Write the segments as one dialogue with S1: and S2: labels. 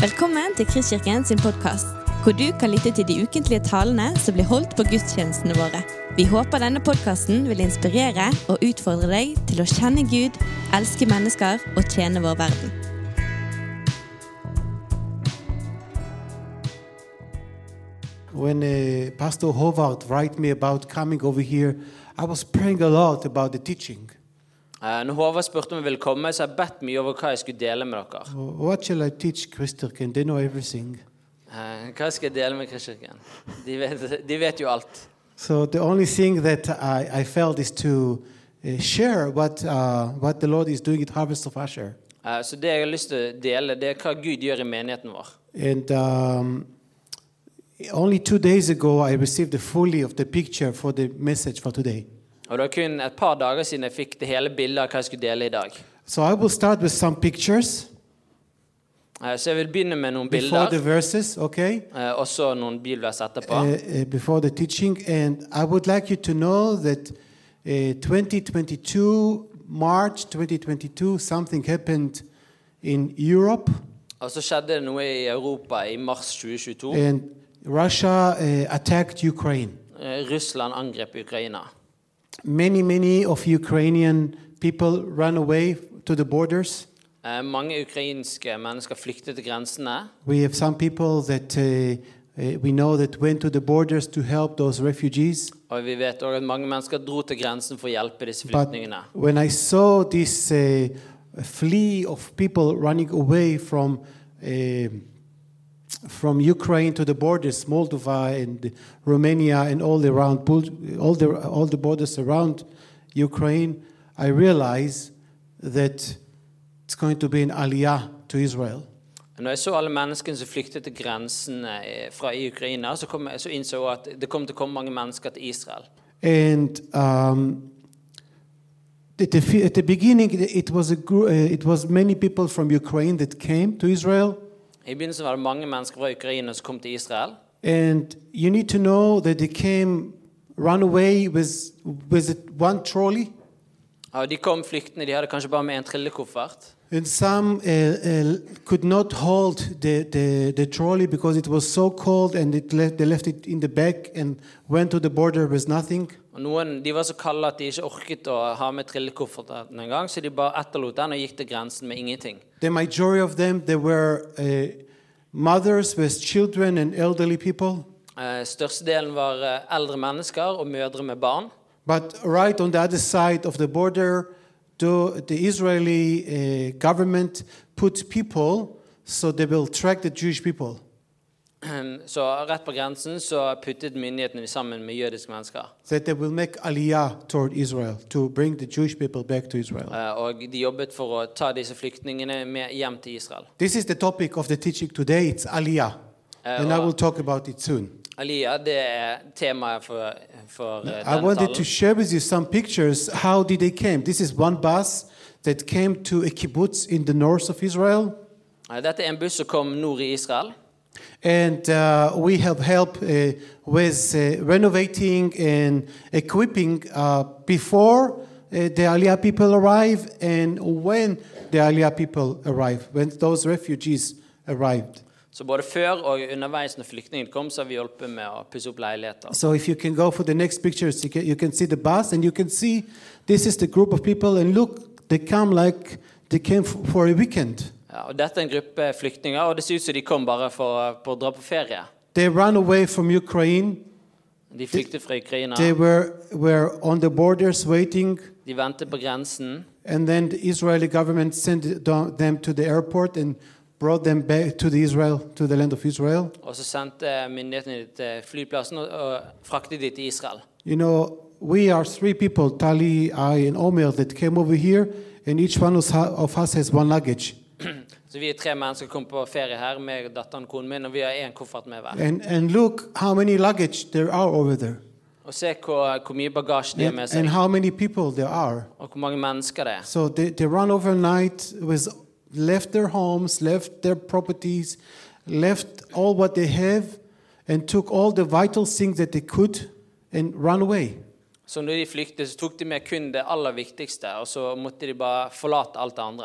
S1: Velkommen til Kristkirken sin podkast, hvor du kan lytte til de ukentlige talene som blir holdt på gudstjenestene våre. Vi håper denne podkasten vil inspirere og utfordre deg til å kjenne Gud, elske mennesker og tjene vår verden.
S2: when uh, Pastor Howard write me about coming over here, I was praying a lot about the teaching.
S3: Eh, Når Håvard spurte om jeg ville komme, så har jeg bedt mye over hva jeg skulle dele med dere.
S2: What shall I teach Christkirken? They know everything.
S3: Eh, Hva skal jeg dele med Kristkirken? De, vet- de vet jo alt.
S2: So the only thing that I, I felt is to uh, share what, uh, what the Lord is doing at Harvest of Asher.
S3: Eh, Så det jeg har lyst til å dele, det er hva Gud gjør i menigheten vår.
S2: And um, only two days ago, I received the fully of the picture for the message for today.
S3: Og Det var kun et par dager siden jeg fikk det hele bildet av hva jeg skulle dele i dag.
S2: So I will start with some pictures
S3: Eh, Så jeg vil begynne med noen
S2: before the
S3: bilder,
S2: verses, okay?
S3: eh, og så noen bilvers etterpå.
S2: uh, uh, before the teaching, and I would like you to know that uh, 2022, March 2022, something happened in Europe,
S3: Og så skjedde det noe i Europa i mars 2022.
S2: and Russia uh, attacked Ukraine.
S3: Eh, Russland angrep Ukraina.
S2: Many, many of Ukrainian people ran away to the borders.
S3: Eh, Mange ukrainske mennesker flyktet til grensene.
S2: We have some people that uh, uh, we know that went to the borders to help those refugees.
S3: Og vi vet også at mange mennesker dro til grensen for å hjelpe disse
S2: But
S3: flyktningene.
S2: when I saw this uh, flee of people running away from uh, from Ukraine to the borders, Moldova and Romania and all around Bul- all the all the borders around Ukraine, I realized that it's going to be an aliyah to Israel.
S3: Når jeg så alle menneskene som flyktet til grensene eh, fra i Ukraina, så, kom, jeg- så innså jeg at det kom til å komme mange mennesker til Israel.
S2: And um, at the, fe- at the beginning, it was a gr- uh, it was many people from Ukraine that came to Israel.
S3: I begynnelsen var det mange mennesker fra Ukraina som kom til Israel.
S2: And you need to know that they came, run away with, with it- one trolley,
S3: Ja, de kom flyktende, de hadde kanskje bare med en trillekoffert.
S2: and some uh, uh, could not hold the, the, the trolley because it was so cold and it left, they left it in the back and went to the border with nothing.
S3: Og noen, De var så kalde at de ikke orket å ha med trillekofferten engang, så de bare etterlot den og gikk til grensen med ingenting.
S2: The majority of them, they were uh, mothers with children and elderly people.
S3: Eh, Størstedelen var eh, eldre mennesker og mødre med barn.
S2: But right on the other side of the border, the, the Israeli uh, government put people so they will track the Jewish people.
S3: Ehm, Så rett på grensen så puttet myndighetene de sammen med jødiske mennesker.
S2: that they will make aliyah toward Israel to bring the Jewish people back to Israel.
S3: Eh, Og de jobbet for å ta disse flyktningene med hjem til Israel.
S2: This is the topic of the teaching today. It's aliyah, and I will talk about it soon.
S3: Aliyah, det er temaet for, for eh,
S2: I
S3: denne
S2: wanted to
S3: talen.
S2: share with you some pictures how did they came. This is one bus that came to a kibbutz in the north of Israel,
S3: Eh, Dette er en buss som kom nord i Israel.
S2: and uh, we have help uh, with uh, renovating and equipping uh, before. Uh, the Aliyah people arrive, and when the Aliyah people arrive, when those refugees arrived.
S3: Så både før og underveis når flyktningene kom, så har vi hjulpet med å pusse opp leiligheter.
S2: So if you can go for the next pictures, you can, you can see the bus and you can see this is the group of people and look, they come like they came f- for a weekend.
S3: Ja, og dette er en gruppe flyktninger, og det ser ut som de kom bare for, for å dra på ferie.
S2: They ran away from Ukraine.
S3: De flyktet fra Ukraina.
S2: They were, were on the borders waiting.
S3: De ventet på grensen.
S2: And then the Israeli government sent do- them to the airport and brought them back to the Israel, to the land of Israel.
S3: Og så sendte myndighetene de til flyplassen og, og fraktet de til Israel.
S2: You know, we are three people, Tali, I, and Omer, that came over here, and each one of us- of us has one luggage.
S3: Så vi er tre mennesker som kom på ferie her, meg, datteren, konen min, og vi har én koffert med hver.
S2: And, and look how many luggage there are over there.
S3: Og se hvor, hvor mye bagasje de har
S2: And,
S3: med
S2: and
S3: seg,
S2: how many people there are.
S3: og hvor mange mennesker det er.
S2: So they, they run overnight with left their homes, left their properties, left all what they have, and took all the vital things that they could and run away.
S3: Så når de flyktet, så tok de med kun det aller viktigste, og så måtte de bare forlate alt det andre.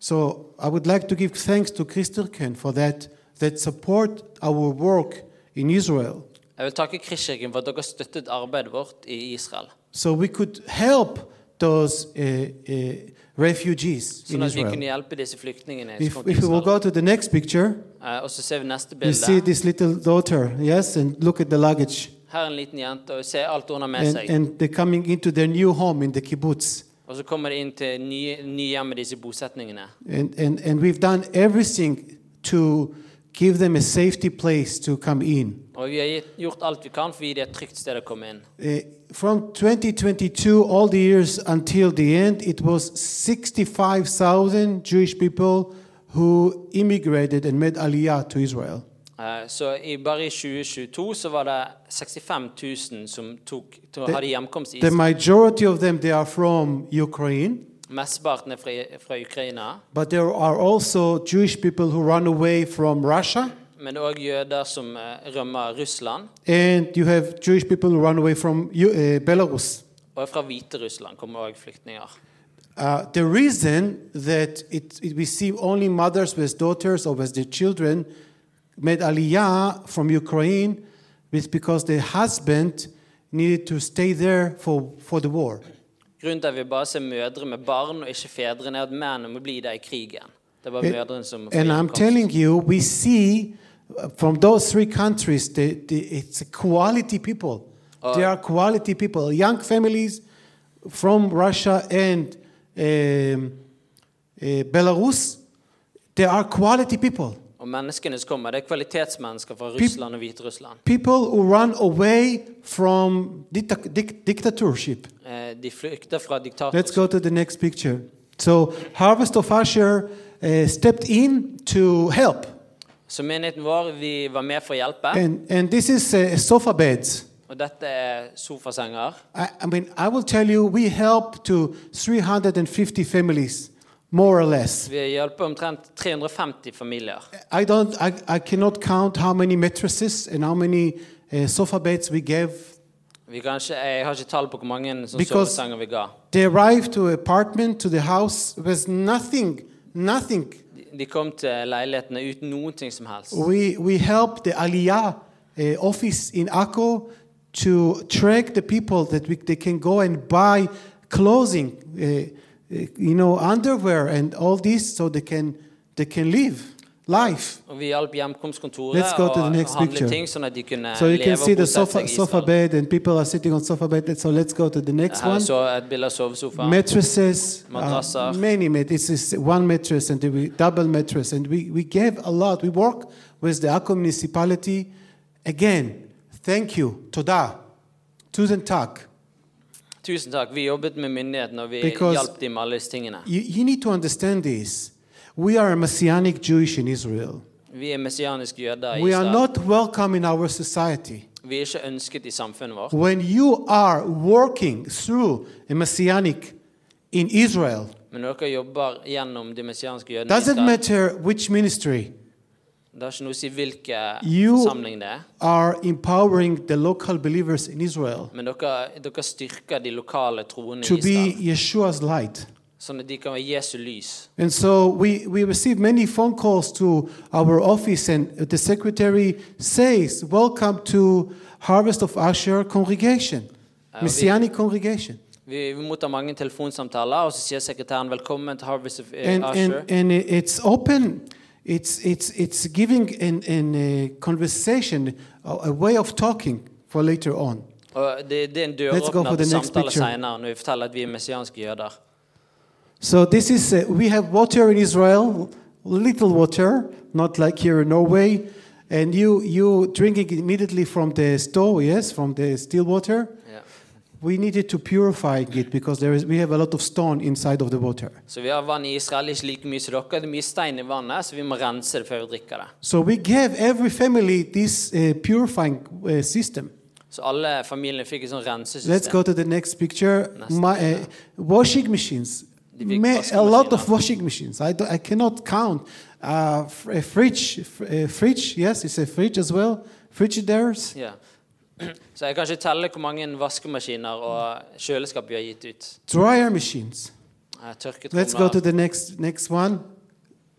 S2: So I would like to give thanks to Christirken for that, that support our work in Israel.
S3: Jeg vil takke Kristkirken for at dere støttet arbeidet vårt i Israel.
S2: So we could help those uh, uh, refugees in
S3: Sånn at vi kunne
S2: Israel.
S3: hjelpe disse flyktningene som
S2: If,
S3: kom
S2: if
S3: til
S2: we will
S3: Israel.
S2: go to the next picture,
S3: Eh, Og så ser vi neste
S2: you see
S3: bilde.
S2: this little daughter, yes, and look at the luggage.
S3: Her er en liten jente, og vi ser alt hun har med
S2: And,
S3: seg.
S2: and they're coming into their new home in the kibbutz.
S3: Og så kommer de inn til nye, nye hjem med disse bosetningene.
S2: And, and, and we've done everything to give them a safety place to come in.
S3: Og vi har gitt- gjort alt vi kan for å gi dem et trygt sted å komme inn.
S2: Uh, from 2022, all the years until the end, it was 65,000 Jewish people who immigrated and made aliyah to Israel.
S3: Eh, Så i, bare i 2022 så var det 65 000 som tok, to, hadde hjemkomst i
S2: The
S3: Israel.
S2: majority of them, they are from Ukraine,
S3: Mesteparten er fra, fra Ukraina.
S2: but there are also Jewish people who run away from Russia,
S3: Men òg jøder som eh, rømmer Russland.
S2: and you have Jewish people who run away from U- uh, Belarus.
S3: Og fra Hviterussland kommer òg flyktninger.
S2: Uh, the reason that it, it, we see only mothers with daughters or with their children made aliyah from Ukraine is because the husband needed to stay there for, for the war.
S3: Grunnen til at vi bare ser mødre med barn og ikke fedrene, er at mennene må bli der i krigen. Det var mødrene som
S2: And I'm Eh, telling you, we see uh, from those three countries, the, the, it's quality people. they are quality people, young families from Russia and um, uh, Belarus. They are quality people.
S3: Og menneskene som kommer, det er kvalitetsmennesker fra Russland og Hviterussland.
S2: people who run away from dicta- dic- dictatorship.
S3: Eh, De flykter fra
S2: Let's
S3: diktatorskap.
S2: go to the next picture. So, Harvest of Asher uh, stepped in to help,
S3: Så menigheten vår, vi var med for å hjelpe.
S2: and and this is uh, sofa beds.
S3: Og dette er sofasenger.
S2: I, I mean, I will tell you, we help to 350 families, more or less.
S3: Vi hjelper omtrent 350 familier.
S2: I don't, I, I cannot count how many mattresses and how many uh, sofa beds we gave.
S3: Vi kan ikke, jeg har ikke tall på hvor mange som
S2: Because-
S3: sovesenger vi ga.
S2: They arrived to apartment, to the house, with nothing, nothing
S3: De- De kom til leilighetene uten noen ting som helst.
S2: We, we help the Aliyah uh, office in Akko to track the people that we, they can go and buy clothing, uh, uh, you know, underwear and all this, so they can they can live life.
S3: Og vi hjalp hjemkomstkontoret
S2: Let's go
S3: å
S2: to the next
S3: handle
S2: picture.
S3: ting sånn at de kunne
S2: So you
S3: leve
S2: can see
S3: og
S2: the
S3: bosette
S2: sofa
S3: seg i
S2: sofa
S3: Israel.
S2: bed and people are sitting on sofa bed. So let's go to the next
S3: Her
S2: one.
S3: er så et bilde av sovesofaen.
S2: Mattresses, uh,
S3: Madrasser.
S2: many mattresses, one mattress and we double mattress, and we, we gave a lot. We work with the Akko municipality. Again, thank you, Toda, Tusen tak.
S3: Tusen takk. Vi jobbet med myndighetene, og vi
S2: Because-
S3: hjalp dem med alle disse tingene.
S2: You, you need to understand this. We are a messianic Jewish in Israel.
S3: Vi er messianiske jøder i
S2: We are
S3: Israel.
S2: not welcome in our society.
S3: Vi er ikke ønsket i samfunnet vårt.
S2: When you are working through a messianic in Israel,
S3: Men når dere jobber gjennom de messianske jødene i
S2: doesn't
S3: Israel,
S2: matter which ministry,
S3: det har ikke noe å si hvilke
S2: You-
S3: forsamling det er.
S2: are empowering the local believers in Israel.
S3: Men dere, dere styrker de lokale troende i
S2: to be
S3: Israel,
S2: Yeshua's light.
S3: sånn at de kan være Jesu lys.
S2: And so we, we receive many phone calls to our office, and the secretary says, Welcome to Harvest of Asher congregation, Messianic congregation.
S3: Vi, vi mottar mange telefonsamtaler, og så sier sekretæren velkommen til Harvest of eh,
S2: And,
S3: Usher.
S2: and, and it's open, it's, it's, it's giving an, an a conversation, a, a way of talking for later on.
S3: og det, det er en
S2: Let's go for
S3: døråpner
S2: the
S3: til
S2: next
S3: samtaler
S2: picture.
S3: senere når vi forteller at vi er messianske jøder.
S2: So this is uh, we have water in Israel, little water, not like here in Norway, and you you drinking immediately from the store, yes, from the still water.
S3: Ja.
S2: We needed to purify it because there is we have a lot of stone inside of the water.
S3: Så vi har vann i Israel, ikke like mye som dere. Det er mye stein i vannet, så vi må rense det før vi drikker det.
S2: So we gave every family this uh, purifying uh, system.
S3: Så alle familiene fikk et sånt
S2: Let's go
S3: rensesystem.
S2: to the next picture.
S3: Next
S2: My, uh, washing machines.
S3: The big
S2: Ma-
S3: washing
S2: a lot
S3: machine,
S2: of washing machines. I, do, I cannot count. Uh, fr- a fridge, fr- a fridge. Yes, it's a fridge as well. Frigidaires.
S3: Ja. Så jeg kan ikke telle hvor mange vaskemaskiner og kjøleskap vi har gitt ut.
S2: Dryer machines.
S3: Eh,
S2: Let's go to
S3: Tørketrommer.
S2: the next next one.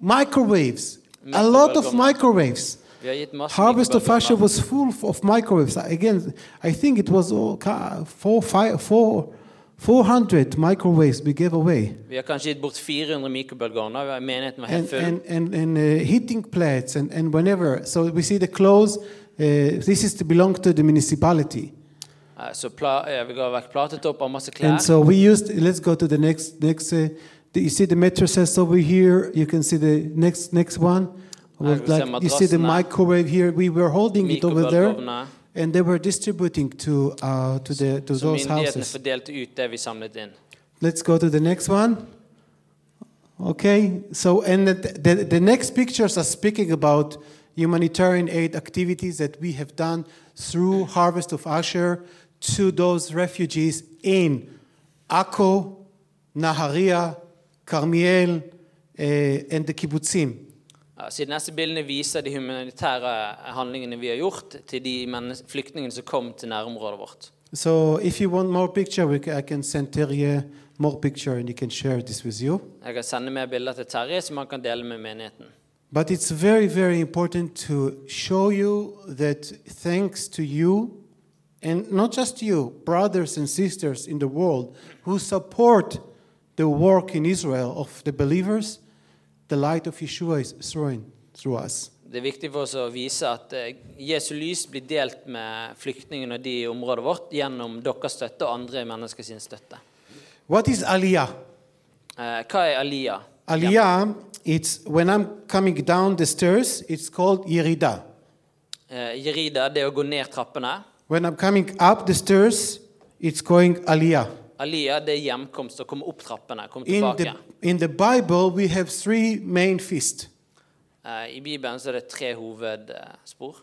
S2: Microwaves. A lot of
S3: Microwave.
S2: microwaves.
S3: Vi har gitt masse
S2: Harvest of
S3: mikrovalgdommer.
S2: Asher was full of microwaves. Again, I think it was all ca- four, five, four, 400 microwaves we gave away.
S3: Vi har kanskje gitt bort 400 mikrobølgeovner. Menigheten var helt
S2: And,
S3: full.
S2: and, and, and uh, heating plants and, and whenever. So we see the clothes. Uh, this is to belong to the municipality.
S3: Eh, Så pla, eh, vi ga vekk platetopper, masse klær.
S2: And so we used, let's go to the next, next uh, the, you see the mattresses over here. You can see the next, next one.
S3: Ah,
S2: With
S3: we see
S2: like, you see the
S3: madrassen now.
S2: microwave here. We were holding it over there.
S3: Mikrobølgeovner.
S2: And they were distributing to, uh, to, the, to
S3: Så
S2: those
S3: myndighetene
S2: houses.
S3: fordelte ut det vi samlet inn.
S2: Let's go to the next one. Okay, so and the, the, the next pictures are speaking about humanitarian aid activities that we have done through Harvest of Asher to those refugees in Akko, Naharia, Carmiel, eh, and the kibbutzim.
S3: Ja, så de neste bildene viser de humanitære eh, handlingene vi har gjort til de mennes- flyktningene som kom til nærområdet vårt.
S2: So if you want more picture, we, ca- I can send Terje more picture and he can share this with you.
S3: Jeg kan sende med bilder til Terje som han kan dele med menigheten.
S2: But it's very, very important to show you that thanks to you, and not just you, brothers and sisters in the world who support the work in Israel of the believers, the light of Yeshua is thrown through us.
S3: Det er viktig for oss å vise at eh, Jesu lys blir delt med flyktningene og de i området vårt gjennom deres støtte og andre menneskers støtte.
S2: What is Aliyah?
S3: Eh, Hva er Aliyah?
S2: Aliyah, it's when I'm coming down the stairs, it's called Yerida.
S3: Eh, Jerida, det er å gå ned trappene.
S2: When I'm coming up the stairs, it's going Aliyah.
S3: Aliyah, det er hjemkomst, å komme opp trappene, komme
S2: In
S3: tilbake.
S2: the, in the Bible, we have three main feasts.
S3: Eh, I Bibelen så er det tre hovedspor.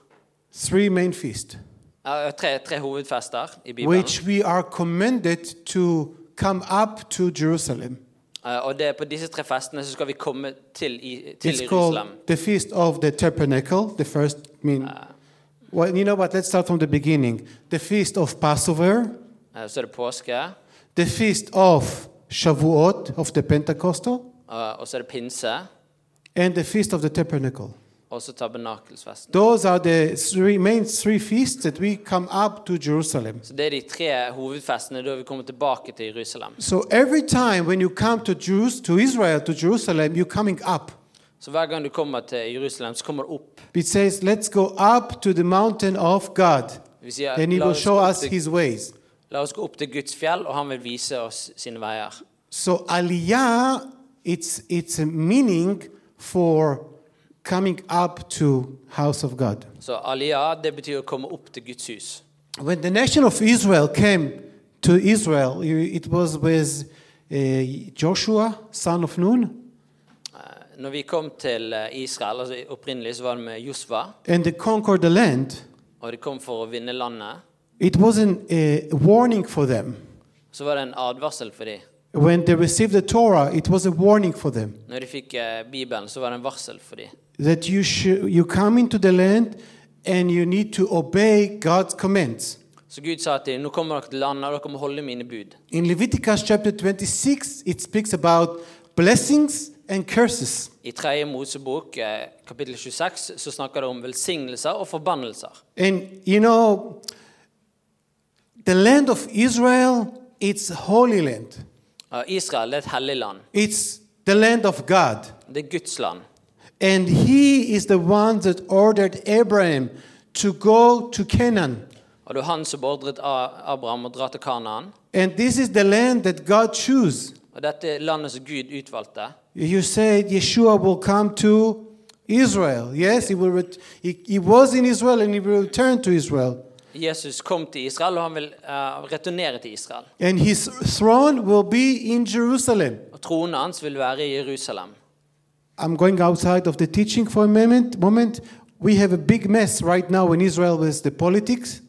S2: Three main feasts,
S3: Eh, Tre, tre hovedfester i Bibelen.
S2: which we are commanded to come up to Jerusalem.
S3: Eh, og det er på disse tre festene så skal vi komme til, i, til
S2: It's
S3: Jerusalem.
S2: called the Feast of the Tabernacle, the first, I mean, well, you know what, let's start from the beginning. The Feast of Passover,
S3: Eh, så er det påske,
S2: the Feast of Shavuot, of the Pentecostal,
S3: eh, og så er det pinse,
S2: and the Feast of the Tabernacle.
S3: og så tabernakelsfesten.
S2: Those are the three main three feasts that we come up to Jerusalem.
S3: Så det er de tre hovedfestene da vi kommer tilbake til Jerusalem.
S2: So every time when you come to Jews, to Israel, to Jerusalem, you're coming up.
S3: Så hver gang du kommer til Jerusalem, så kommer du opp.
S2: It says, "Let's go up to the mountain of God,
S3: Vi sier,
S2: and He
S3: la
S2: will
S3: oss,
S2: show
S3: gå opp
S2: us
S3: til,
S2: His ways."
S3: la oss gå opp til Guds fjell, og han vil vise oss sine veier.
S2: So Aliyah, it's it's a meaning for coming up to house of God.
S3: Så Aliyah, det betyr å komme opp til Guds hus.
S2: When the nation of Israel came to Israel, you- it was with uh, Joshua, son of Nun,
S3: Eh, Når vi kom til eh, Israel, altså opprinnelig så var det med Josva,
S2: and they conquered the land.
S3: og de kom for å vinne landet,
S2: It wasn't a warning for them.
S3: så var det en advarsel for dem.
S2: When they received the Torah, it was a warning for them
S3: Når de fikk eh, Bibelen, så var det en varsel for dem.
S2: that you should, you come into the land and you need to obey God's commands.
S3: Så Gud sa til dem, nå kommer dere til landet, og dere må holde mine bud.
S2: In Leviticus chapter 26, it speaks about blessings and curses.
S3: I tredje Mosebok, eh, kapittel 26, så snakker det om velsignelser og forbannelser.
S2: And you know, the land of Israel, it's holy land.
S3: Eh, Israel det er et hellig land.
S2: It's the land of God.
S3: Det er Guds land.
S2: And he is the one that ordered Abraham to go to Canaan.
S3: Og det var han som beordret A- Abraham å dra til Kanaan.
S2: And this is the land that God chose.
S3: Og dette er landet som Gud utvalgte.
S2: You said Yeshua will come to Israel. Yes, he will. Ret- he, he was in Israel and he will return to Israel.
S3: Jesus kom til Israel, og han vil eh, returnere til Israel.
S2: And his throne will be in Jerusalem.
S3: Og tronen hans vil være i Jerusalem.
S2: I'm going outside of the teaching for a moment. Moment. We have a big mess right now in Israel with the politics.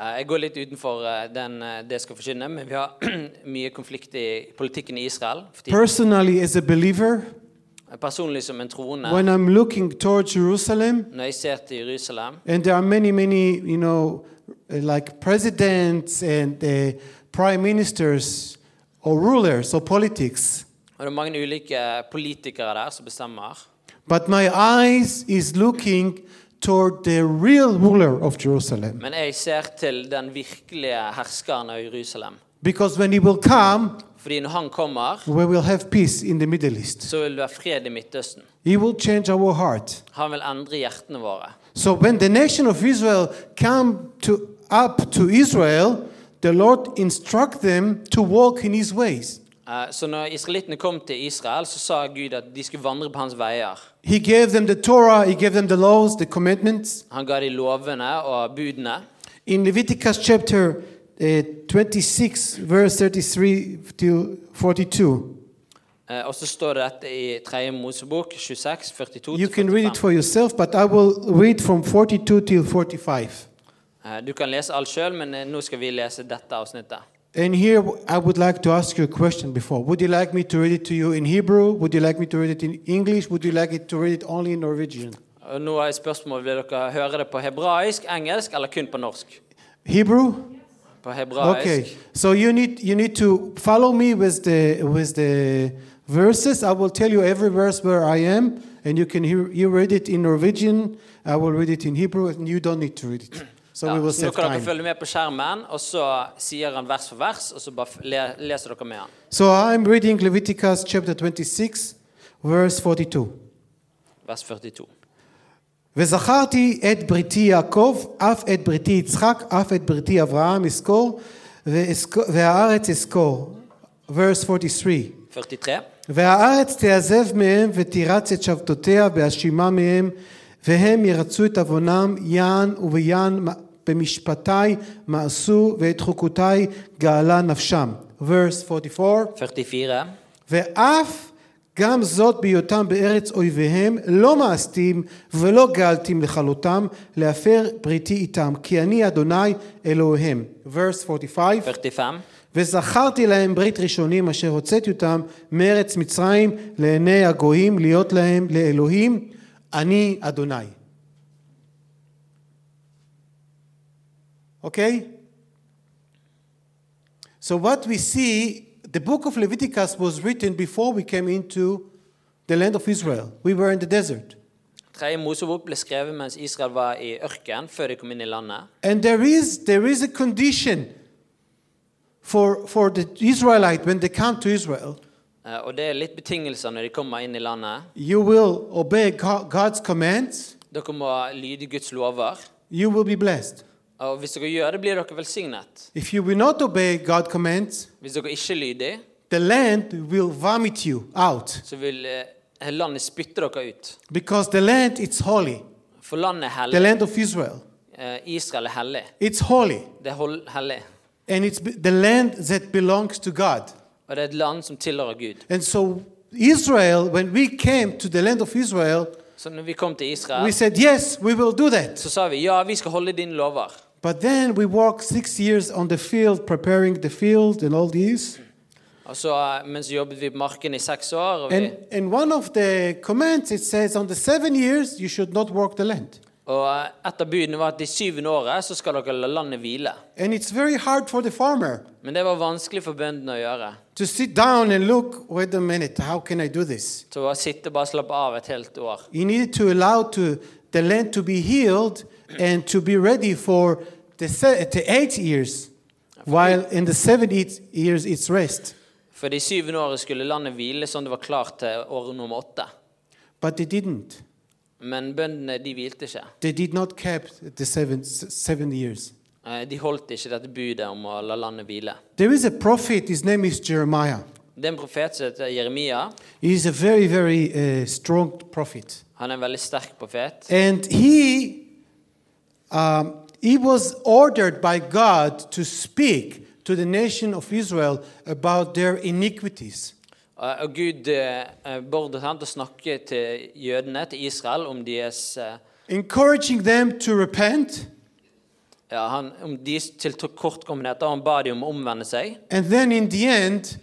S3: Eh, Jeg går litt utenfor eh, den, eh, det jeg skal forkynne, men vi har mye konflikt i politikken i Israel. For tiden.
S2: Personally, as a believer,
S3: Personlig som en troende,
S2: when I'm looking toward Jerusalem,
S3: når jeg ser til Jerusalem,
S2: and there are many, many, you know, like presidents and uh, prime ministers or rulers or politics.
S3: og det er mange ulike politikere der som bestemmer,
S2: But my eyes is looking toward the real ruler of Jerusalem.
S3: Men jeg ser til den virkelige herskeren av Jerusalem.
S2: Because when he will come,
S3: Fordi når han kommer,
S2: we will have peace in the Middle East.
S3: så vil det være fred i Midtøsten.
S2: He will change our heart.
S3: Han vil endre hjertene våre.
S2: So when the nation of Israel come to up to Israel, the Lord instruct them to walk in his ways.
S3: Eh, Så når israelittene kom til Israel, så sa Gud at de skulle vandre på hans veier.
S2: He gave them the Torah, he gave them the laws, the commandments.
S3: Han ga de lovene og budene.
S2: In Leviticus chapter uh, 26 verse 33 to 42.
S3: Eh, Og så står det dette i 3. Mosebok 26, 42
S2: You can read it
S3: 45.
S2: for yourself, but I will read from 42 till 45.
S3: Eh, Du kan lese alt sjøl, men eh, nå skal vi lese dette avsnittet.
S2: And here I would like to ask you a question before. Would you like me to read it to you in Hebrew? Would you like me to read it in English? Would you like it to read it only in Norwegian?
S3: Og nå er spørsmålet vil dere høre det på hebraisk, engelsk eller kun på norsk?
S2: Hebrew?
S3: På hebraisk.
S2: Okay. So you need you need to follow me with the with the verses. I will tell you every verse where I am and you can hear you read it in Norwegian. I will read it in Hebrew and you don't need to read it. So
S3: Ja,
S2: we will
S3: så nå
S2: save
S3: kan dere
S2: time.
S3: følge med på skjermen, og så sier han vers for vers, og så bare f- le leser dere med han.
S2: So I'm reading Leviticus chapter 26 verse 42.
S3: Vers 42.
S2: וזכרתי את בריתי יעקב, אף את בריתי יצחק, אף את בריתי אברהם אזכור, ואזכור- והארץ אזכור. verse 43.
S3: 43.
S2: והארץ תעזב מהם ותירץ את שבתותיה באשימה מהם, והם ירצו את עוונם יען וביען במשפטי מעשו ואת חוקותי גאלה נפשם. verse 44.
S3: 44.
S2: ואף גם זאת בהיותם בארץ אויביהם לא מאסתים ולא געלתים לכלותם להפר בריתי איתם כי אני אדוני אלוהיהם. verse 45
S3: 45.
S2: וזכרתי להם ברית ראשונים אשר הוצאתי אותם מארץ מצרים לעיני הגויים להיות להם לאלוהים אני אדוני. Okay? אוקיי? So what we see, the book of Leviticus was written before we came into the land of Israel. We were in the desert.
S3: Tredje Mosebok ble skrevet mens Israel var i ørken, før de kom inn i landet.
S2: And there is, there is a condition for, for the Israelite when they come to Israel.
S3: Eh, Og det er litt betingelser når de kommer inn i landet.
S2: You will obey Go- God's commands,
S3: Dere må lyde Guds lover.
S2: you will be blessed.
S3: Og hvis dere gjør det, blir dere velsignet.
S2: If you will not obey God's commands,
S3: Hvis dere ikke er lydige,
S2: the land will vomit you out
S3: så vil eh, landet spytte dere ut.
S2: because the land is holy.
S3: For landet er
S2: The
S3: hellig.
S2: land of Israel.
S3: Eh, Israel er hellig.
S2: It's holy.
S3: Det er hol- hellig.
S2: And it's be- the land that belongs to God.
S3: Og det er et land som tilhører Gud.
S2: And so Israel, when we came to the land of Israel,
S3: Så når vi kom til Israel,
S2: we said, yes, we will do that.
S3: så sa vi ja, vi skal holde dine lover.
S2: But then we worked six years on the field, preparing the field and all this.
S3: Og så, eh, men så jobbet vi på marken i seks år. Og, vi,
S2: And, and one of the commands, it says, on the seven years, you should not work the land.
S3: og eh, et av budene var at det syvende året så skal dere la landet hvile.
S2: And it's very hard for the farmer
S3: Men det var vanskelig for bøndene å gjøre.
S2: to sit down and look, wait a minute, how can I do this?
S3: Så å sitte og bare slappe av et helt år.
S2: You need to allow to, the land to be healed and to be ready for the, se- the eight years, while in the seven eight years it's rest.
S3: For det syvende året skulle landet hvile sånn det var klart til år nummer åtte.
S2: But they didn't.
S3: Men bøndene de hvilte ikke.
S2: They did not keep the seven, s- seven years.
S3: Eh, De holdt ikke dette budet om å la landet hvile.
S2: There is a prophet, his name is Jeremiah.
S3: Det er en profet som heter Jeremia.
S2: He is a very, very uh, strong prophet.
S3: Han er en veldig sterk profet.
S2: And he, um, he was ordered by God to speak to the nation of Israel about their iniquities.
S3: Eh, Og Gud eh, beordret han til å snakke til jødene, til Israel, om deres eh,
S2: encouraging them to repent,
S3: ja, han, om deres tilkortkommenheter. Han ba dem om å omvende seg.
S2: and then in the end,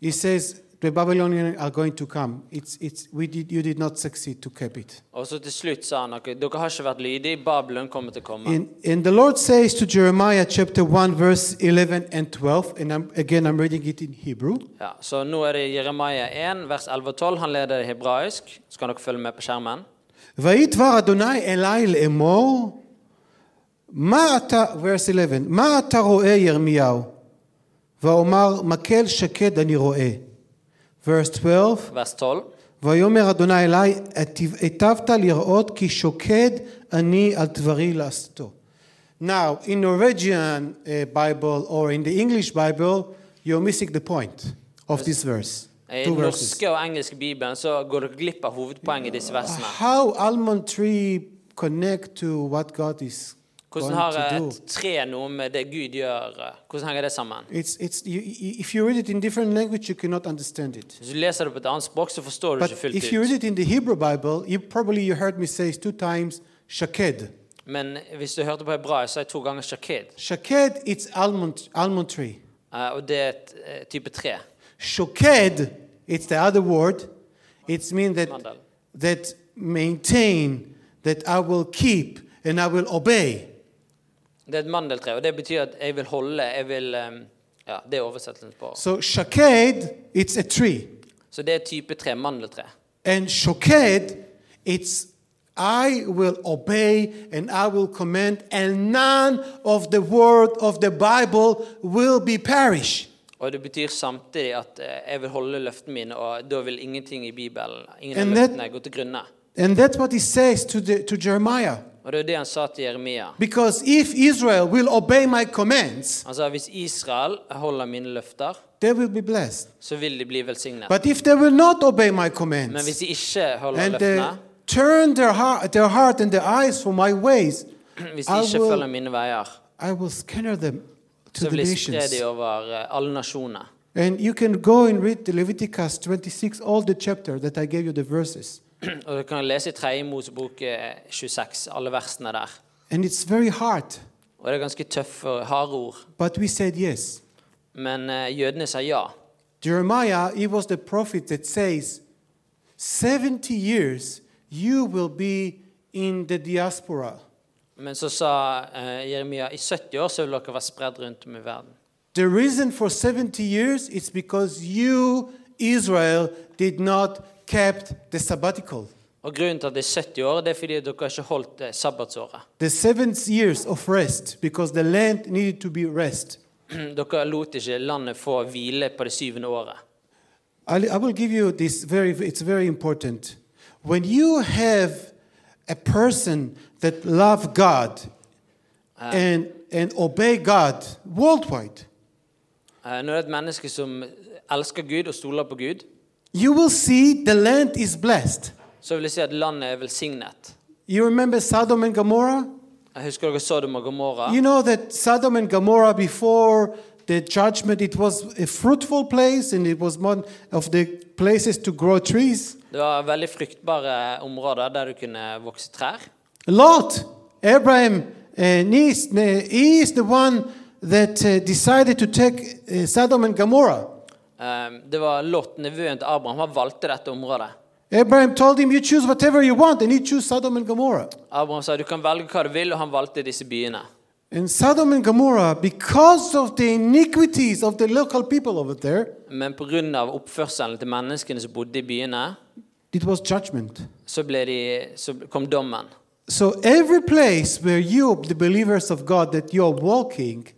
S2: he says, the Babylonians are going to come. It's, it's, we did, you did not succeed to keep it.
S3: Og så til slutt sa han at dere har ikke vært lydige, Babylon kommer til å komme.
S2: And, and the Lord says to Jeremiah chapter 1, verse 11 and 12, and I'm, again I'm reading it in Hebrew.
S3: Ja, så nå er det Jeremia 1, vers 11 og 12. Han leder det hebraisk. Så kan dere følge med på skjermen.
S2: וידבר אדוני אלי לאמור, מה אתה, verse 11, מה אתה רואה ירמיהו? ואומר, מקל שקד אני רואה. verse 12,
S3: Vers 12.
S2: ויאמר אדוני אלי, "היטב- היטבת לראות כי שוקד אני על דברי לעשותו. Now, in Norwegian uh, Bible or in the English Bible, you're missing the point of this verse.
S3: I
S2: Two
S3: den
S2: verses.
S3: norske og engelske bibelen så går dere glipp av hovedpoenget i disse versene.
S2: How almond tree connect to what God is going
S3: Hvordan har
S2: to do?
S3: et tre noe med det Gud gjør? eh, Hvordan henger det sammen?
S2: It's, it's, you, you- if you read it in different language, you cannot understand it.
S3: Hvis du leser det på et annet språk, så forstår du
S2: But
S3: ikke
S2: if you read
S3: fullt ut.
S2: it in the Hebrew Bible, you probably you heard me say two times shaked.
S3: Men hvis du hørte på hebraisk, så er det to ganger shakid.
S2: Shaked, it's almond, almond tree.
S3: eh, Og det er et eh, type tre.
S2: Shoked, it's the other word. It means that,
S3: Mandal.
S2: that maintain, that I will keep and I will obey.
S3: Det er et mandeltre, og det betyr at jeg vil holde, jeg vil eh, Ja, det er oversettelsen på.
S2: So shaked, it's a tree.
S3: Så det er type tre, mandeltre.
S2: And shoked, it's I will obey and I will command, and none of the word of the Bible will be perish.
S3: Og det betyr samtidig at eh, jeg vil holde løftene mine, og da vil ingenting i Bibelen, ingen av
S2: And that-
S3: løftene, gå til grunne.
S2: And that's what he says to, the, to Jeremiah.
S3: Og det er jo det han sa til Jeremia.
S2: Because if Israel will obey my commands,
S3: Han sa hvis Israel holder mine løfter,
S2: they will be blessed.
S3: så vil de bli velsignet.
S2: But if they will not obey my
S3: Men
S2: commands
S3: hvis de ikke holder
S2: and they
S3: løftene,
S2: turn their heart, their heart and their eyes from my ways,
S3: hvis
S2: eh, I
S3: de ikke
S2: will-
S3: følger mine veier,
S2: I will scatter them to
S3: så
S2: the
S3: vil jeg spre
S2: nations.
S3: de over eh, alle nasjoner.
S2: And you can go and read the Leviticus 26, all the chapter that I gave you the verses.
S3: Og du kan lese i 3. Mosebok eh, 26, alle versene der.
S2: And it's very hard,
S3: Og det er ganske tøffe og harde ord.
S2: but we said yes.
S3: Men eh, jødene sa ja.
S2: Jeremiah, he was the prophet that says, 70 years you will be in the diaspora.
S3: Men så sa eh, Jeremia i 70 år så vil dere være spredd rundt om i verden.
S2: The reason for 70 years is because you, Israel, did not kept the sabbatical.
S3: Og grunnen til at det er 70 år, det er fordi dere ikke holdt eh, sabbatsåret.
S2: The seventh years of rest, because the land needed to be rest.
S3: Dere lot ikke landet få hvile på det syvende året.
S2: I'll- I will give you this very, it's very important. When you have a person that love God and, and obey God worldwide,
S3: Eh, Når det er et menneske som elsker Gud og stoler på Gud,
S2: you will see the land is blessed.
S3: så vil jeg si at landet er velsignet.
S2: You remember Sodom and Gomorrah?
S3: Jeg husker dere Sodom og Gomorra.
S2: You know that Sodom and Gomorrah before the judgment, it was a fruitful place and it was one of the places to grow trees.
S3: Det var veldig fruktbare områder der du kunne vokse trær.
S2: Lot, Abraham, and he is, he is the one that uh, decided to take uh, Sodom and Gomorrah.
S3: Eh, Det var Lot, nevøen til Abraham, han valgte dette området.
S2: Abraham told him, You choose whatever you want, and he chose Sodom and Gomorrah.
S3: Abraham sa du kan velge hva du vil, og han valgte disse byene.
S2: And Sodom and Gomorrah, because of the iniquities of the local people over there,
S3: Men pga. oppførselen til menneskene som bodde i byene,
S2: it was judgment.
S3: så, ble de, så kom dommen.
S2: So every place where you, the believers of God, that you're walking,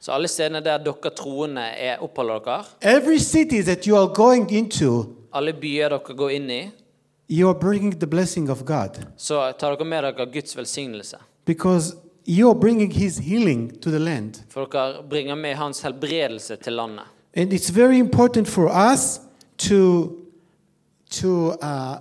S3: Så alle stedene der dere troende er oppholder dere,
S2: every city that you are going into,
S3: alle byer dere går inn i,
S2: you are bringing the blessing of God.
S3: så tar dere med dere Guds velsignelse.
S2: Because you're bringing his healing to the land.
S3: For dere bringer med hans helbredelse til landet.
S2: And it's very important for us to, to, uh,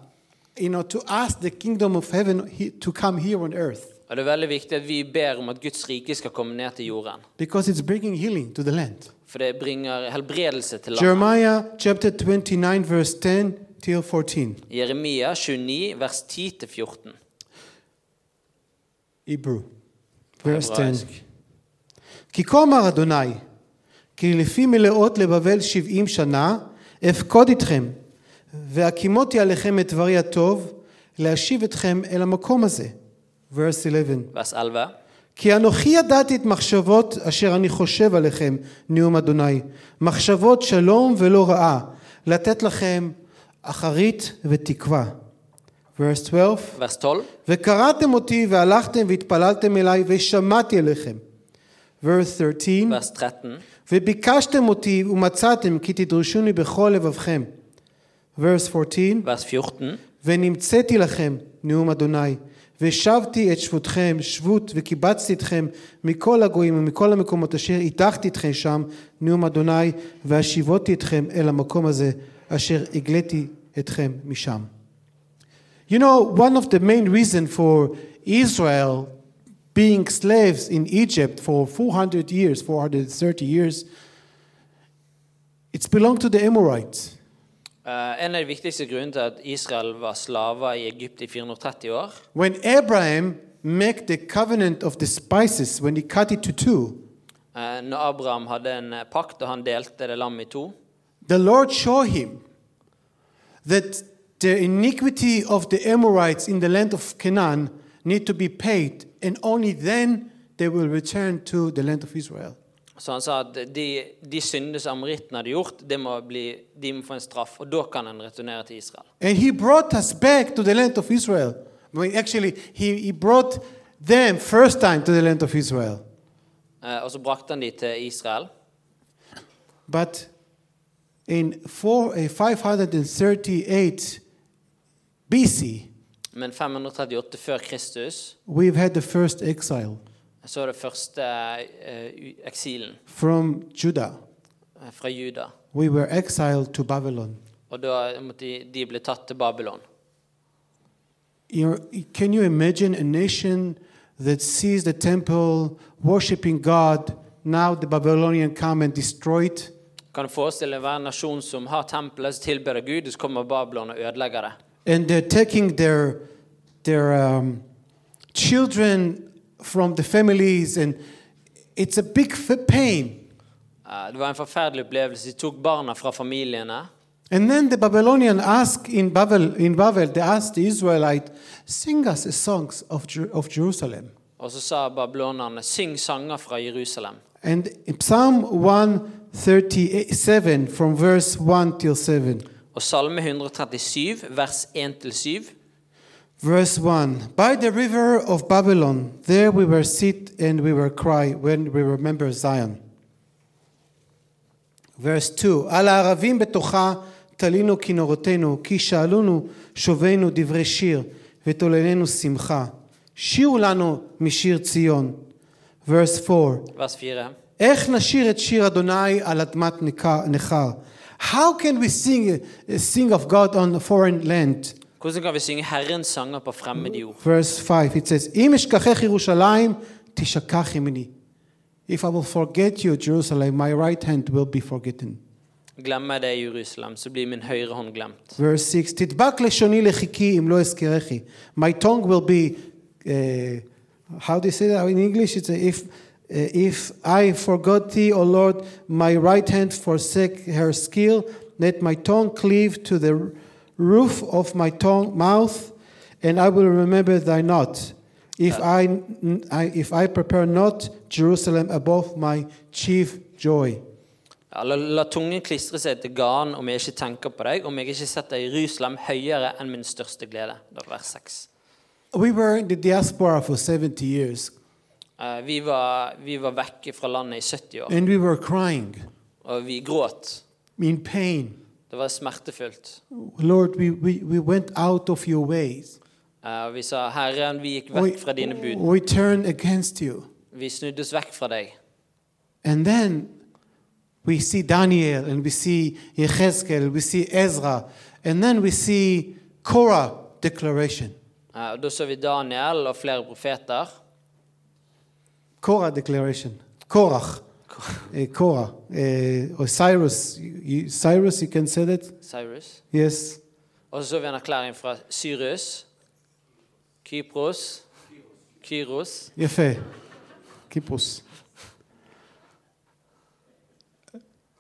S2: you know, to ask the kingdom of heaven he- to come here on earth
S3: Og det er veldig viktig at vi ber om at Guds rike skal komme ned til jorden.
S2: because it's bringing healing to the land.
S3: For det bringer helbredelse til landet.
S2: Jeremiah chapter 29, verse 10 till 14,
S3: Jeremia 29, vers 10-14.
S2: Hebrew. Verse 10.
S3: Hebraisk.
S2: כי כה אמר אדוני, כי לפי מלאות לבבל שבעים שנה, אפקוד אתכם, והקימותי עליכם את דברי הטוב, להשיב אתכם אל המקום הזה. Verse 11.
S3: Vers 11.
S2: כי אנוכי ידעתי את מחשבות אשר אני חושב עליכם, נאום אדוני, מחשבות שלום ולא רעה, לתת לכם אחרית ותקווה. Verse 12.
S3: Vers 12.
S2: וקראתם אותי והלכתם והתפללתם אליי ושמעתי אליכם. Verse 13.
S3: Vers 13.
S2: וביקשתם אותי ומצאתם כי תדרשוני בכל לבבכם. Verse 14.
S3: Vers 14.
S2: ונמצאתי לכם, נאום אדוני, ושבתי את שבותכם, שבות, וקיבצתי אתכם מכל הגויים ומכל המקומות אשר הטחתי אתכם שם, נאום אדוני, והשיבותי אתכם אל המקום הזה, אשר הגליתי אתכם משם. You know, one of the main reason for Israel being slaves in Egypt for 400 years, 430 years, it's belonged to the Amorites.
S3: Eh, en av de viktigste grunnene til at Israel var slaver i Egypt i 430 år,
S2: When Abraham make the covenant of the spices, when he cut it to two,
S3: eh, når Abraham hadde en eh, pakt og han delte det lammet i to,
S2: the Lord showed him that the iniquity of the Amorites in the land of Canaan need to be paid, and only then they will return to the land of Israel.
S3: så han sa at de, de syndene som amorittene hadde gjort, det må bli, de må få en straff, og da kan en returnere til Israel.
S2: And he brought us back to the land of Israel. I mean, actually, he, he brought them first time to the land of Israel.
S3: Eh, Og så brakte han de til Israel.
S2: But in four, uh, 538 BC,
S3: Men 538 før Kristus
S2: we've had the first exile
S3: så er det første eh, u- eksilen
S2: from Judah.
S3: eh, fra Juda.
S2: We were exiled to Babylon.
S3: Og da måtte de, de ble tatt til Babylon.
S2: You know, can you imagine a nation that sees the temple worshiping God? Now the Babylonian come and destroy it.
S3: Kan du forestille deg hver nasjon som har tempelet, som tilber Gud, og så kommer Babylon og ødelegger det?
S2: and they're taking their their um, children from the families, and it's a big f- pain.
S3: Eh, Det var en forferdelig opplevelse. De tok barna fra familiene.
S2: And then the Babylonian ask in Babel, in Babel, they asked the Israelite, "Sing us the songs of Jer- of Jerusalem."
S3: Og så sa babylonerne, syng sanger fra Jerusalem.
S2: And in Psalm one thirty-seven, from verse one till seven.
S3: Og Salme 137, vers 1-7.
S2: Verse 1 By the river of Babylon, there we were sit and we were cry when we remember Zion. Verse 2 על הערבים בתוכה תלינו כינורותינו, כי שאלונו שובנו דברי שיר, ותוללנו שמחה. שירו לנו משיר ציון. Verse 4
S3: Vers 4.
S2: איך נשיר את שיר אדוני על אדמת ניכר- נכר? How can we sing, sing of God on a foreign land?
S3: Hvordan kan vi synge Herrens sanger på fremmede jord?
S2: verse 5 it says אם אשכחך ירושלים תשכח ימיני if I will forget you Jerusalem my right hand will be forgotten
S3: Glemmer jeg deg i Jerusalem, så blir min høyre hånd glemt.
S2: verse 6 תדבק לשוני לחכי אם לא אזכרכי my tongue will be uh, how do you say that in English it's uh, if uh, if I forgot thee O Lord my right hand forsake her skill let my tongue cleave to the roof of my tongue mouth and I will remember thy not if I, I if I prepare not Jerusalem above my chief joy
S3: Ja, la, la tungen klistre seg til ganen om jeg ikke tenker på deg, om jeg ikke setter Jerusalem høyere enn min største glede. Da vers 6.
S2: we were in the diaspora for 70 years
S3: Eh, vi, var, vi var vekke fra landet i 70 år,
S2: and we were crying
S3: og vi gråt.
S2: in pain.
S3: Det var smertefullt.
S2: Lord, we, we, we went out of your ways.
S3: Eh, og vi sa, Herren, vi gikk
S2: We,
S3: vekk fra dine bud.
S2: we turned against you.
S3: Vi snudde oss vekk fra deg.
S2: And then we see Daniel and we see Yechezkel, we see Ezra, and then we see Korah declaration.
S3: Eh, og da så vi Daniel og flere profeter.
S2: Korah declaration. Korach. Eh, Korah. Eh, or Cyrus. You- you- Cyrus, you can say that?
S3: Cyrus.
S2: Yes.
S3: Og så så vi en erklæring fra Syrus, Kypros, Kyros.
S2: יפה. קיפוס.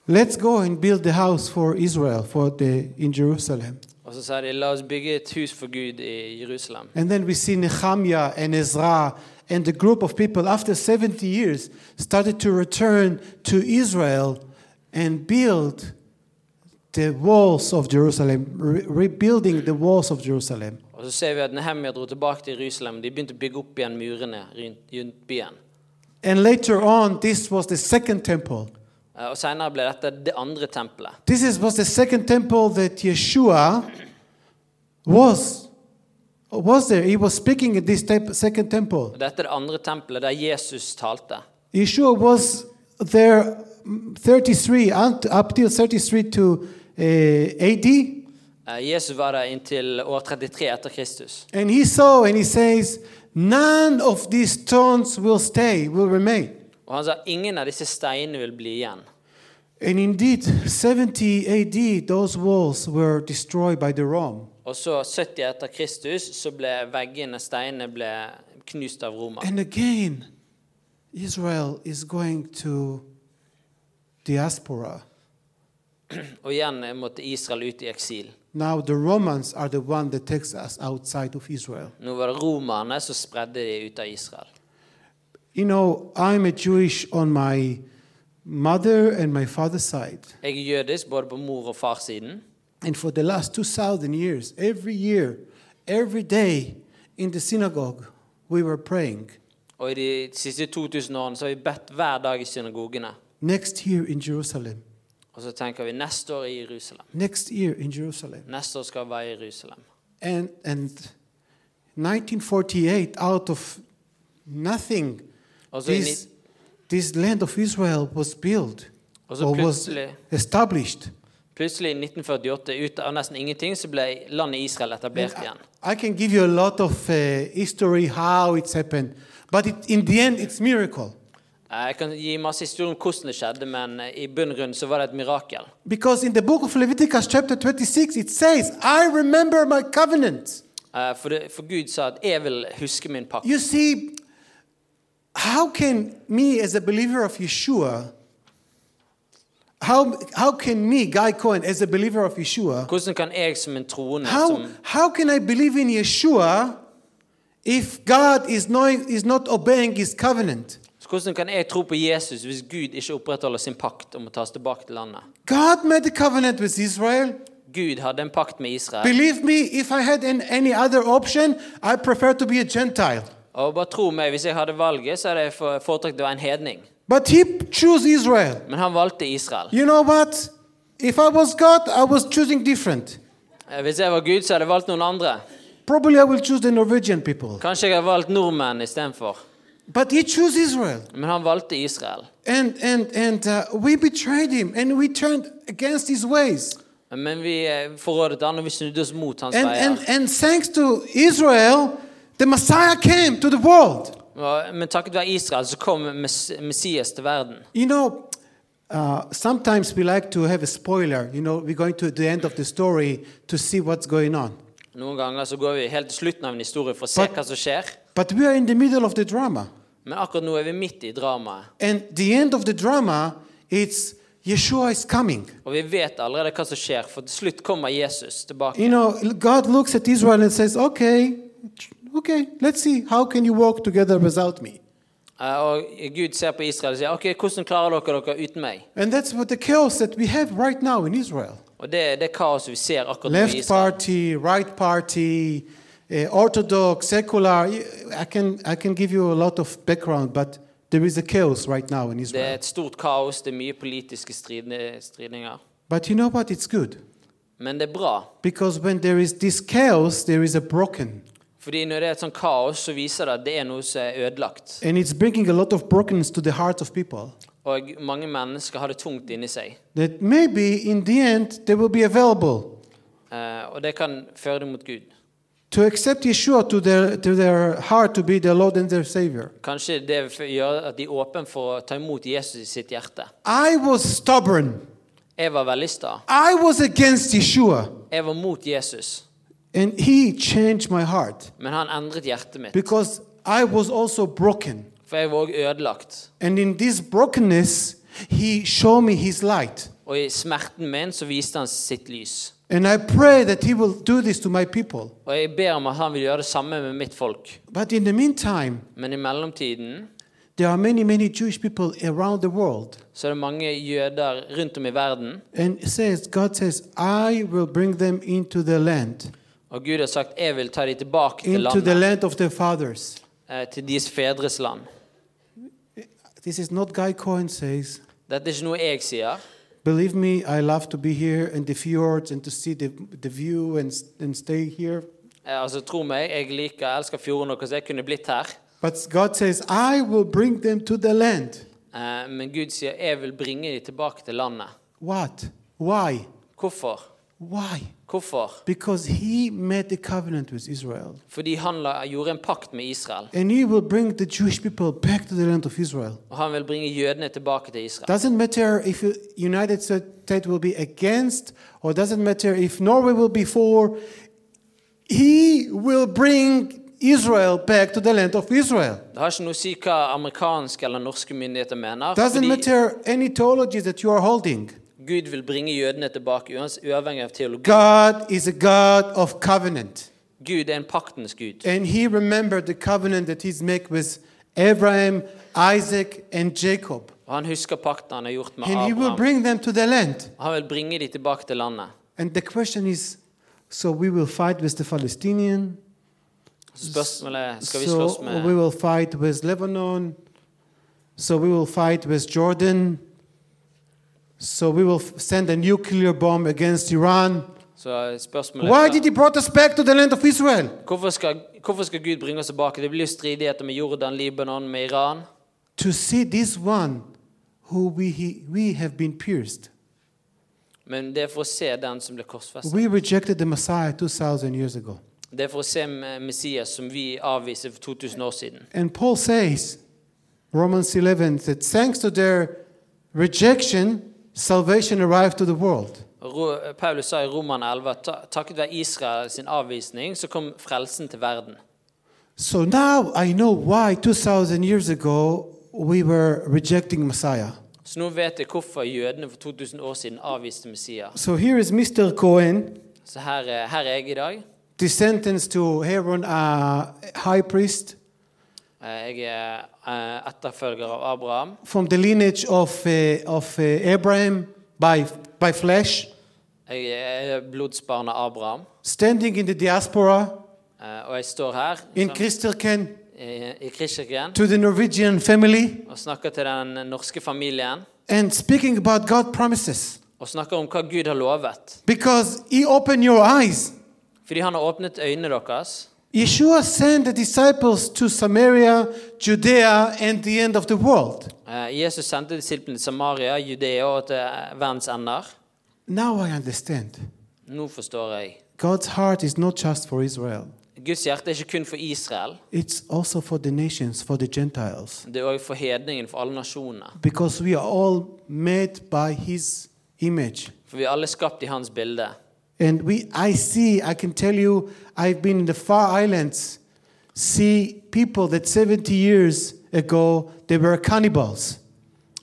S2: Let's go and build the house for Israel for the, in Jerusalem.
S3: Og så sa de la oss bygge et hus for Gud i Jerusalem.
S2: And then we see Nehemiah and Ezra and the group of people after 70 years started to return to Israel and build the walls of Jerusalem, re- rebuilding the walls of Jerusalem.
S3: Og så ser vi at Nehemia dro tilbake til Jerusalem. De begynte å bygge opp igjen murene rundt rundt byen.
S2: And later on, this was the second temple.
S3: Eh, Og senere ble dette det andre tempelet.
S2: This is, was the second temple that Yeshua was, was there. He was speaking at this temp- second temple.
S3: Og dette er det andre tempelet der Jesus talte.
S2: Yeshua was there mm, 33, unt- up till 33 to uh, AD.
S3: Eh, Jesus var der inntil år 33 etter Kristus.
S2: And he saw and he says, None of these stones will stay, will remain.
S3: Og han sa ingen av disse steinene vil bli igjen.
S2: And indeed, 70 AD, those walls were destroyed by the Rome.
S3: Og så 70 etter Kristus så ble veggene, steinene, ble knust av Roma.
S2: And again, Israel is going to diaspora.
S3: Og igjen måtte Israel ut i eksil.
S2: Now the Romans are the one that takes us outside of Israel.
S3: Nå var det romerne som spredde de ut av Israel.
S2: You know, I'm a Jewish on my mother and my father's side.
S3: Jeg er jødisk både på mor- og farssiden.
S2: And for the last 2,000 years, every year, every day in the synagogue, we were praying.
S3: Og i de siste 2000 årene så har vi bedt hver dag i synagogene.
S2: Next year in Jerusalem.
S3: Og så tenker vi neste år i Jerusalem.
S2: Next year in Jerusalem.
S3: Neste år skal vi være i Jerusalem.
S2: And, and 1948, out of nothing,
S3: Also in
S2: this, this land of Israel was built
S3: Also
S2: or was
S3: plötzlich-
S2: established.
S3: Plutselig i 1948, ut av nesten ingenting, så ble landet Israel etablert igjen.
S2: I can give you a lot of uh, history how it's happened, but it, in the end, it's miracle
S3: Eh, Jeg kan gi masse historier om hvordan det skjedde, men eh, i bunn og grunn så var det et mirakel.
S2: because in the book of Leviticus, chapter 26, it says, "I remember my covenant."
S3: Eh, For, det, for Gud sa at 'jeg vil huske min pakt'.
S2: You see, how can me as a believer of Yeshua? How, how can me, Guy Cohen, as a believer of Yeshua,
S3: Hvordan kan jeg som en troende
S2: How,
S3: som,
S2: how can I believe in Yeshua if God is, knowing, is not obeying his covenant?
S3: Hvordan kan jeg tro på Jesus hvis Gud ikke opprettholder sin pakt om å ta oss tilbake til landet?
S2: God made a covenant with Israel.
S3: Gud hadde en pakt med Israel.
S2: Believe me, if I had an, any other option, I prefer to be a Gentile.
S3: Og bare tro meg, hvis jeg hadde valget, så hadde jeg for- foretrukket å være en hedning.
S2: But he chose Israel.
S3: Men han valgte Israel.
S2: You know what? If I was God, I was choosing different.
S3: Eh, Hvis jeg var Gud, så hadde jeg valgt noen andre.
S2: Probably I will choose the Norwegian people.
S3: Kanskje jeg hadde valgt nordmenn istedenfor.
S2: But he chose Israel.
S3: Men han valgte Israel.
S2: And, and, and uh, we betrayed him and we turned against his ways.
S3: Men vi eh, forrådet han, og vi snudde oss mot hans
S2: And,
S3: veier.
S2: and, and thanks to Israel, the Messiah came to the world.
S3: Og- Men takket være Israel så kom Mess Messias til verden.
S2: You know, uh, sometimes we like to have a spoiler. You know, we're going to the end of the story to see what's going on.
S3: Noen ganger så går vi helt til slutten av en historie for å se
S2: But-
S3: hva som skjer.
S2: But we are in the middle of the drama.
S3: Men akkurat nå er vi midt i dramaet.
S2: And the end of the drama, it's Yeshua is coming.
S3: Og vi vet allerede hva som skjer, for til slutt kommer Jesus tilbake.
S2: You know, God looks at Israel and says, okay, okay, let's see. How can you walk together without me?
S3: Eh, Og Gud ser på Israel og sier OK, hvordan klarer dere dere uten meg?
S2: And that's what the chaos that we have right now in Israel.
S3: Og det er det kaoset vi ser akkurat nå i
S2: left
S3: Israel.
S2: party, right party, uh, orthodox, secular. I can I can give you a lot of background, but there is a chaos right now in
S3: Det er
S2: Israel.
S3: et stort kaos, det er mye politiske stridne- stridninger.
S2: But you know what? It's good
S3: Men det er bra.
S2: because when there is this chaos, there is a broken,
S3: Fordi når det er et sånt kaos, så viser det at det er noe som er ødelagt.
S2: and it's bringing a lot of brokenness to the hearts of people.
S3: Og mange mennesker har det tungt inni seg.
S2: That maybe in the end they will be available
S3: Eh, og det kan føre dem mot Gud.
S2: to accept Yeshua to their to their heart to be their Lord and their Savior.
S3: Kanskje det f- gjør at de er åpne for å ta imot Jesus i sitt hjerte.
S2: I was stubborn.
S3: Jeg var veldig sta.
S2: I was against Yeshua,
S3: Jeg var mot Jesus,
S2: and He changed my heart.
S3: men han endret hjertet mitt.
S2: because I was also broken.
S3: For jeg var òg ødelagt.
S2: And in this brokenness, he showed me his light.
S3: Og i smerten min så viste han sitt lys.
S2: And I pray that He will do this to my people.
S3: Og jeg ber om at han vil gjøre det samme med mitt folk.
S2: But in the meantime,
S3: Men i mellomtiden
S2: there are many, many Jewish people around the world.
S3: så er det mange jøder rundt om i verden.
S2: And it says, God says, I will bring them into the land,
S3: Og Gud har sagt 'jeg vil ta de tilbake til
S2: into the
S3: landet',
S2: land of their fathers.
S3: eh, til deres fedres land.
S2: This is not Guy Cohen says.
S3: Dette er ikke noe jeg sier.
S2: Believe me, I love to be here in the fjords and to see the, the view and, s- and stay here.
S3: Eh, Altså, tro meg, jeg liker jeg elsker fjorden deres. Jeg kunne blitt her.
S2: But God says, I will bring them to the land.
S3: Eh, Men Gud sier 'jeg vil bringe de tilbake til landet'.
S2: What? Why?
S3: Hvorfor?
S2: Why?
S3: Hvorfor?
S2: Because He made the covenant with Israel.
S3: Fordi han la, gjorde en pakt med Israel.
S2: And He will bring the Jewish people back to the land of Israel.
S3: Og han vil bringe jødene tilbake til Israel.
S2: Doesn't matter if the United States will be against, or doesn't matter if Norway will be for. He will bring Israel back to the land of Israel.
S3: Det har ikke noe å si hva amerikanske eller norske myndigheter mener.
S2: Doesn't
S3: Fordi
S2: matter any theology that you are holding.
S3: Gud vil bringe jødene tilbake, uans- uavhengig av teologi.
S2: God is a God of covenant,
S3: Gud er en paktens gud.
S2: and He remembered the covenant that He's made with Abraham, Isaac, and Jacob,
S3: Og han husker pakten han har gjort med
S2: and He will
S3: Abraham.
S2: bring them to the land.
S3: Han vil bringe de tilbake til landet.
S2: And the question is, so we will fight with the Palestinian.
S3: Så spørsmålet skal vi slåss
S2: So we
S3: med
S2: will fight with Lebanon. So we will fight with Jordan. So we will f- send a nuclear bomb against Iran.
S3: Så spørsmålet
S2: Why did
S3: er,
S2: he brought us back to the land of Israel?
S3: hvorfor, skal, hvorfor skal Gud bringe oss tilbake? Det blir jo stridigheter med Jordan, Libanon, med Iran.
S2: To see this one who we, he, we have been pierced.
S3: Men det er for å se den som ble korsfestet.
S2: We rejected the Messiah 2,000 years ago.
S3: Det er for å se Messias som vi avviser for 2000 år siden.
S2: And Paul says, Romans 11, that thanks to their rejection, salvation arrived to the world.
S3: Ro- Paulus sa i Roman 11 at ta- takket være Israel sin avvisning, så kom frelsen til verden.
S2: So now I know why 2,000 years ago we were rejecting Messiah.
S3: Så nå vet jeg hvorfor jødene for 2000 år siden avviste Messias.
S2: So here is Mr. Cohen,
S3: Så her, er- her er jeg i dag.
S2: the sentence to Aaron, uh, high priest
S3: Eh, Jeg er eh, etterfølger av Abraham.
S2: from the lineage of, uh, of uh, Abraham by, by flesh,
S3: Jeg er blodsbarn av Abraham.
S2: standing in the diaspora
S3: Eh, Og jeg står her
S2: in
S3: som-
S2: Christelken
S3: i i Kristkirken
S2: to the Norwegian family
S3: og snakker til den norske familien.
S2: and speaking about God promises
S3: Og snakker om hva Gud har lovet.
S2: because He opened your eyes.
S3: Fordi han har åpnet øynene deres.
S2: Yeshua sent the disciples to Samaria, Judea, and the end of the world.
S3: Eh, Jesus sendte disiplene til Samaria, Judea og til verdens ender.
S2: Now I understand.
S3: Nå forstår jeg.
S2: God's heart is not just for Israel,
S3: Guds hjerte er ikke kun for Israel,
S2: it's also for the nations, for the Gentiles,
S3: det er òg for hedningen, for alle nasjoner.
S2: because we are all made by His image.
S3: For vi er alle skapt i hans bilde.
S2: And we, I see, I can tell you, I've been in the far islands, see people that 70 years ago they were cannibals.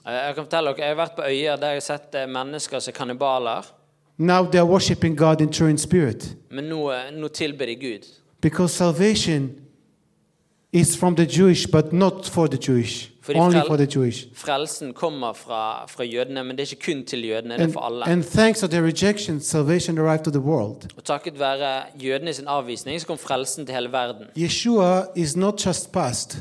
S3: Eh, Jeg kan fortelle dere, jeg har vært på øyer der jeg har sett eh, mennesker som er kannibaler,
S2: Now they are worshiping God in true and spirit,
S3: men nå, eh, nå tilber de Gud.
S2: because salvation is from the Jewish, but not for the Jewish,
S3: For the
S2: only
S3: Frel-
S2: for the Jewish.
S3: Frelsen kommer fra, fra jødene, men det er ikke kun til jødene, det er
S2: and,
S3: for alle.
S2: and thanks to their rejection, salvation arrived to the world.
S3: Og takket være jødene sin avvisning, så kom frelsen til hele verden.
S2: Yeshua is not just past,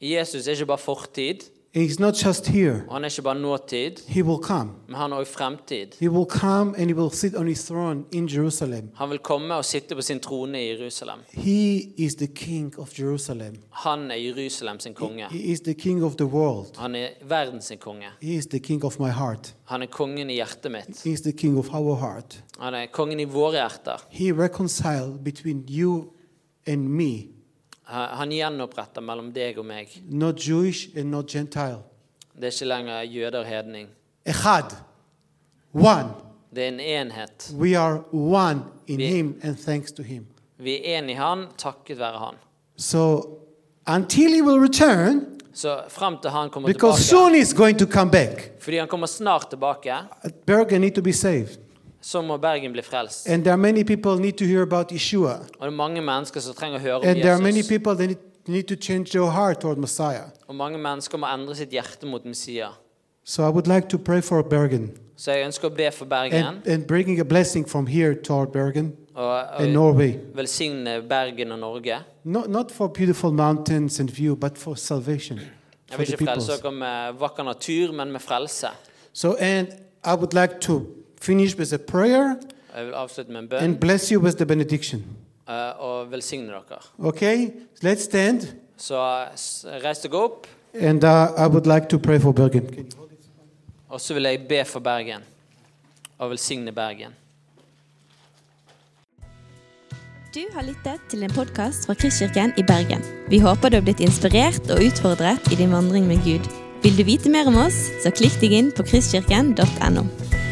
S3: Jesus er ikke bare fortid,
S2: he's not just here.
S3: og han er ikke bare nåtid,
S2: He will come.
S3: men han er òg fremtid.
S2: He will come and he will sit on his throne in Jerusalem.
S3: Han vil komme og sitte på sin trone i Jerusalem.
S2: He is the king of Jerusalem.
S3: Han er Jerusalem sin konge.
S2: He is the king of the world.
S3: Han er verden sin konge.
S2: He is the king of my heart.
S3: Han er kongen i hjertet mitt.
S2: He is the king of our heart.
S3: Han er kongen i våre hjerter.
S2: He reconciled between you and me,
S3: Ha- Han gjenoppretter mellom deg og meg.
S2: not Jewish and not Gentile.
S3: Det er ikke lenger jøder og hedning.
S2: Echad, one.
S3: Det er en enhet.
S2: We are one in
S3: Yeah.
S2: Him and thanks to Him.
S3: Vi er én i Han, takket være Han.
S2: So until He will return,
S3: Så frem til han kommer
S2: Because
S3: tilbake,
S2: soon he's going to come back.
S3: fordi han kommer snart tilbake,
S2: Bergen need to be saved.
S3: så må Bergen bli frelst.
S2: And there are many people need to hear about Yeshua.
S3: Og det er mange mennesker som trenger å høre om
S2: And there are eh, many
S3: Oh, Jesus.
S2: people that need- need to change their heart toward Messiah.
S3: Og mange mennesker må endre sitt hjerte mot Messiah.
S2: So I would like to pray for Bergen
S3: Så jeg ønsker å be for Bergen,
S2: and, and bringing a blessing from here toward Bergen and
S3: og,
S2: Norway.
S3: og velsigne Bergen og Norge.
S2: Not, not for beautiful mountains and view, but for salvation.
S3: Jeg
S2: For
S3: vil
S2: the
S3: ikke frelse
S2: peoples.
S3: dere med vakker natur, men med frelse.
S2: So, and I would like to finish with a prayer
S3: Jeg vil avslutte med en bønn
S2: and bless you with the benediction.
S3: eh, og velsigne dere.
S2: Okay? Let's stand.
S3: Så eh, s- reis dere opp,
S2: And uh, I would like to pray for Bergen. Can you hold it?
S3: og så vil jeg be for Bergen. Og velsigne Bergen.
S1: Du har lyttet til en podkast fra Kristkirken i Bergen. Vi håper du har blitt inspirert og utfordret i din vandring med Gud. Vil du vite mer om oss, så klikk deg inn på kristkirken.no.